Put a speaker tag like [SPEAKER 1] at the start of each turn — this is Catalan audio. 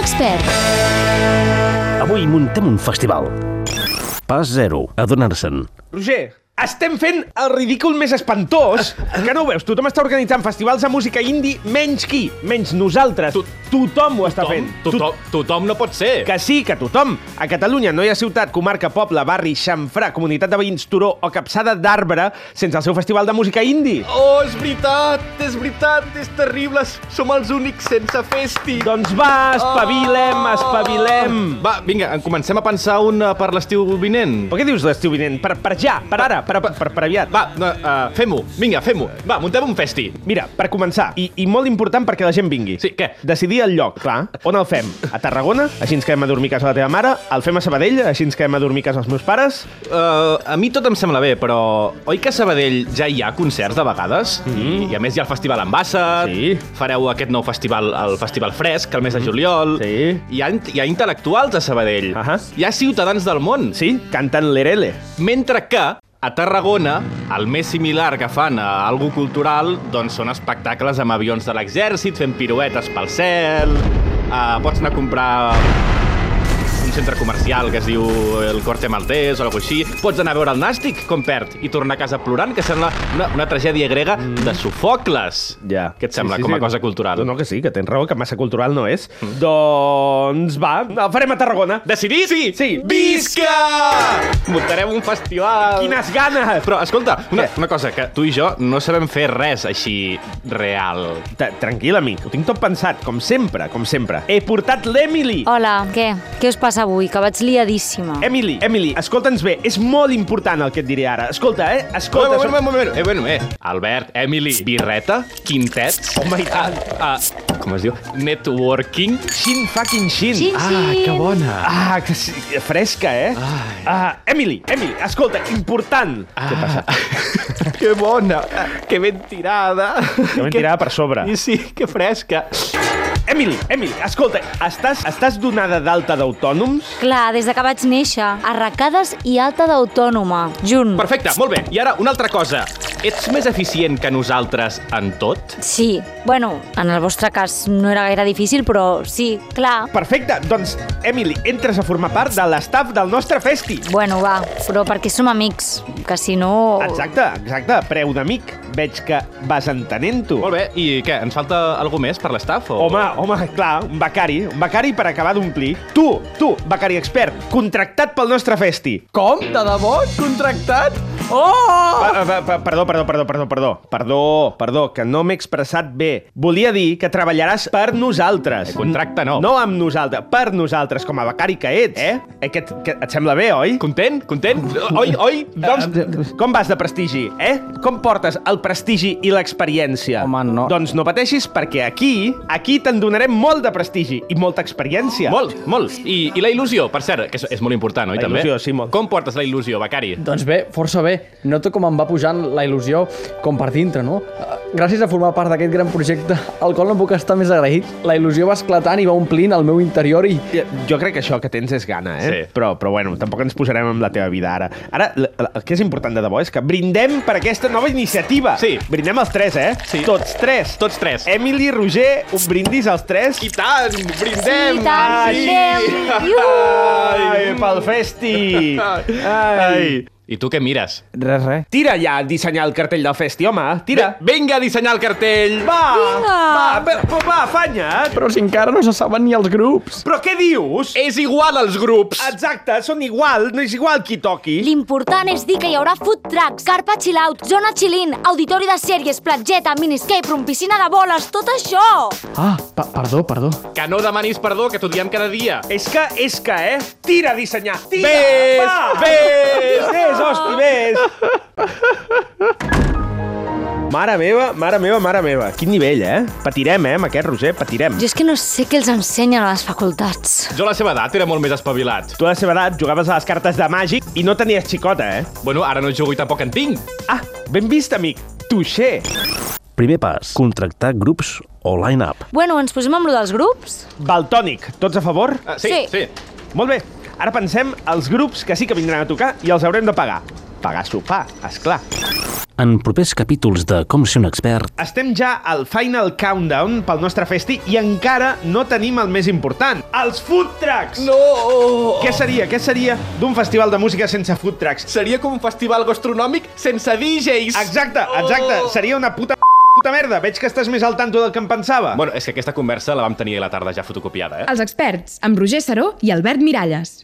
[SPEAKER 1] expert.
[SPEAKER 2] Avui muntem un festival. Pas zero, adonar-se'n.
[SPEAKER 3] Roger, estem fent el ridícul més espantós que no ho veus. Tothom està organitzant festivals de música indie, menys qui? Menys nosaltres.
[SPEAKER 4] Tu-
[SPEAKER 3] tothom ho està fent.
[SPEAKER 4] Tothom, tothom no pot ser.
[SPEAKER 3] Que sí, que tothom. A Catalunya no hi ha ciutat, comarca, poble, barri, xamfrà, comunitat de veïns, turó o capçada d'arbre sense el seu festival de música indie.
[SPEAKER 4] Oh, és veritat, és veritat, és terrible. Som els únics sense festi.
[SPEAKER 3] Doncs va, espavilem, espavilem.
[SPEAKER 4] Va, vinga, en comencem a pensar un eh, per l'estiu vinent.
[SPEAKER 3] Però què dius l'estiu vinent? Per, per ja, per ara, per, per, per, per aviat.
[SPEAKER 4] Va, no, uh, fem-ho, vinga, fem-ho. Va, muntem un festi.
[SPEAKER 3] Mira, per començar, i, i molt important perquè la gent vingui.
[SPEAKER 4] Sí, què?
[SPEAKER 3] Decidir el lloc, clar. On el fem? A Tarragona? Així ens quedem a dormir a casa de la teva mare? El fem a Sabadell? Així ens quedem a dormir a casa dels meus pares?
[SPEAKER 4] Uh, a mi tot em sembla bé, però oi que a Sabadell ja hi ha concerts de vegades? Mm -hmm. I a més hi ha el Festival Ambassa,
[SPEAKER 3] Mm-hmm. Sí. Mm-hmm.
[SPEAKER 4] fareu aquest nou festival, el Festival Fresc, el mes de juliol.
[SPEAKER 3] Sí.
[SPEAKER 4] Hi ha, hi ha intel·lectuals a Sabadell.
[SPEAKER 3] Ahà.
[SPEAKER 4] Hi ha ciutadans del món.
[SPEAKER 3] Sí, canten l'Erele.
[SPEAKER 4] Mentre que a Tarragona, el més similar que fan a algo cultural doncs són espectacles amb avions de l'exèrcit, fent piruetes pel cel... Uh, pots anar a comprar un centre comercial que es diu el Corte Maltès o alguna cosa així. Pots anar a veure el Nàstic, com perd, i tornar a casa plorant, que sembla una, una tragèdia grega de Sofocles.
[SPEAKER 3] Ja.
[SPEAKER 4] Què et sembla, sí, sí, com a cosa cultural?
[SPEAKER 3] No, no, que sí, que tens raó, que massa cultural no és. Mm. Doncs va, el farem a Tarragona.
[SPEAKER 4] Decidir? Sí!
[SPEAKER 3] Sí.
[SPEAKER 4] Visca! Muntarem un festival!
[SPEAKER 3] Quines ganes!
[SPEAKER 4] Però, escolta, una,
[SPEAKER 3] Què?
[SPEAKER 4] una cosa, que tu i jo no sabem fer res així real.
[SPEAKER 3] Ta- Tranquil, amic, ho tinc tot pensat, com sempre, com sempre. He portat l'Emily!
[SPEAKER 5] Hola, què? Què us passa avui? Que vaig liadíssima.
[SPEAKER 3] Emily, Emily, escolta'ns bé, és molt important el que et diré ara. Escolta, eh?
[SPEAKER 4] Bueno,
[SPEAKER 3] Escolta,
[SPEAKER 4] bueno, bueno, bueno, eh, bueno, eh. Albert, Emily, birreta, quintets... Oh my God! Ah, ah, com es diu? Networking.
[SPEAKER 3] Shin fucking shin.
[SPEAKER 5] Xin,
[SPEAKER 4] Ah,
[SPEAKER 5] xin.
[SPEAKER 4] que bona!
[SPEAKER 3] Ah, que sí, fresca, eh?
[SPEAKER 4] Ai.
[SPEAKER 3] Ah, Emily, Emily, escolta, important. Ah. Què passa?
[SPEAKER 4] que bona! Que ben tirada!
[SPEAKER 3] Que ben tirada per sobre.
[SPEAKER 4] I sí, que fresca.
[SPEAKER 3] Emily, Emily, escolta, estàs, estàs donada d'alta d'autònoms?
[SPEAKER 5] Clar, des de que vaig néixer. Arracades i alta d'autònoma. Junt.
[SPEAKER 4] Perfecte, molt bé. I ara, una altra cosa. Ets més eficient que nosaltres en tot?
[SPEAKER 5] Sí. Bueno, en el vostre cas no era gaire difícil, però sí, clar.
[SPEAKER 3] Perfecte, doncs, Emily, entres a formar part de l'estaf del nostre festi.
[SPEAKER 5] Bueno, va, però perquè som amics, que si no...
[SPEAKER 4] Oh.
[SPEAKER 3] Exacte, exacte, preu d'amic. Veig que vas entenent-ho.
[SPEAKER 4] Molt bé, i què, ens falta algú més per l'estaf? O...
[SPEAKER 3] Home, home, clar, un becari, un becari per acabar d'omplir. Tu, tu, becari expert, contractat pel nostre festi.
[SPEAKER 6] Com? De debò? Contractat? Oh!
[SPEAKER 3] Pa- pa- pa- Perdó, perdó, perdó, perdó, perdó, perdó, perdó, que no m'he expressat bé. Volia dir que treballaràs per nosaltres.
[SPEAKER 4] Eh, contracte no.
[SPEAKER 3] No amb nosaltres, per nosaltres, com a becari que ets, eh? eh que, et- que et sembla bé, oi?
[SPEAKER 4] Content? Content? Oi, oi?
[SPEAKER 3] Doncs, com vas de prestigi, eh? Com portes el prestigi i l'experiència?
[SPEAKER 6] Home, no.
[SPEAKER 3] Doncs no pateixis, perquè aquí, aquí te'n donarem molt de prestigi i molta experiència.
[SPEAKER 4] Molt, molt. I, I la il·lusió, per cert, que és, és molt important, oi,
[SPEAKER 3] La
[SPEAKER 4] també?
[SPEAKER 3] il·lusió, sí, molt.
[SPEAKER 4] Com portes la il·lusió, Becari?
[SPEAKER 6] Doncs bé, força bé. Noto com em va pujant la il·lusió com per dintre, no? Eh, Gràcies a formar part d'aquest gran projecte, al qual no puc estar més agraït. La il·lusió va esclatant i va omplint el meu interior i...
[SPEAKER 3] Ja, Eh, Jo crec que això que tens és gana, eh?
[SPEAKER 4] Sí.
[SPEAKER 3] Però, però bueno, tampoc ens posarem amb la teva vida ara. Ara, l- l- el que és important de debò és que brindem per aquesta nova iniciativa.
[SPEAKER 4] Sí.
[SPEAKER 3] Brindem els tres, eh?
[SPEAKER 4] Sí.
[SPEAKER 3] Tots tres.
[SPEAKER 4] Tots tres.
[SPEAKER 3] Emily, Roger, un brindis als tres.
[SPEAKER 4] Eh, I tant! Brindem!
[SPEAKER 5] Sí, i tant,
[SPEAKER 4] Ai!
[SPEAKER 5] brindem! Iuhu!
[SPEAKER 3] Ai, pel festi! Ai.
[SPEAKER 4] I tu què mires?
[SPEAKER 6] Res, res.
[SPEAKER 3] Tira ja a dissenyar el cartell del festi, home. Tira.
[SPEAKER 4] Ve- Vinga a dissenyar el cartell!
[SPEAKER 3] Va!
[SPEAKER 5] Vinga.
[SPEAKER 3] Va, va, va, va afanya't.
[SPEAKER 6] Però si encara no se saben ni els grups.
[SPEAKER 3] Però què dius?
[SPEAKER 4] És igual als grups!
[SPEAKER 3] Exacte, són igual, no és igual qui toqui.
[SPEAKER 5] L'important és dir que hi haurà food trucks, carpa chill out, zona chill-in, auditori de sèries, platgeta, miniscape room, piscina de boles, tot això!
[SPEAKER 6] Ah, pa perdó, perdó.
[SPEAKER 4] Que no demanis perdó, que t'ho diem cada dia!
[SPEAKER 3] És que, és que, eh? Tira a dissenyar! Tira!
[SPEAKER 4] Ves,
[SPEAKER 3] va!
[SPEAKER 4] ves!
[SPEAKER 3] Vés, hosti, vés! Mare meva, mare meva, mare meva. Quin nivell, eh? Patirem, eh, amb aquest, Roger, patirem.
[SPEAKER 5] Jo és que no sé què els ensenyen a les facultats.
[SPEAKER 4] Jo a la seva edat era molt més espavilat.
[SPEAKER 3] Tu a la seva edat jugaves a les cartes de màgic i no tenies xicota, eh?
[SPEAKER 4] Bueno, ara no jugo i tampoc en tinc.
[SPEAKER 3] Ah, ben vist, amic. Tuixer.
[SPEAKER 2] Primer pas, contractar grups o line-up.
[SPEAKER 5] Bueno, ens posem amb lo dels grups?
[SPEAKER 3] Baltònic, tots a favor?
[SPEAKER 4] Ah, sí,
[SPEAKER 5] Sí.
[SPEAKER 4] sí.
[SPEAKER 3] Molt bé. Ara pensem els grups que sí que vindran a tocar i els haurem de pagar. pagar sopar, és clar.
[SPEAKER 2] En propers capítols de Com ser un expert,
[SPEAKER 3] Estem ja al Final Countdown pel nostre festi i encara no tenim el més important, els food trucks!
[SPEAKER 4] No!
[SPEAKER 3] Què seria, què seria d'un festival de música sense food trucks?
[SPEAKER 4] Seria com un festival gastronòmic sense DJs.
[SPEAKER 3] Exacte, exacte,
[SPEAKER 4] Oh!
[SPEAKER 3] seria una puta puta merda. Veig que estàs més al tanto del que em pensava.
[SPEAKER 4] Bueno, és que aquesta conversa la vam tenir a la tarda ja fotocopiada, eh?
[SPEAKER 1] Els experts, amb Roger Saró i Albert Miralles.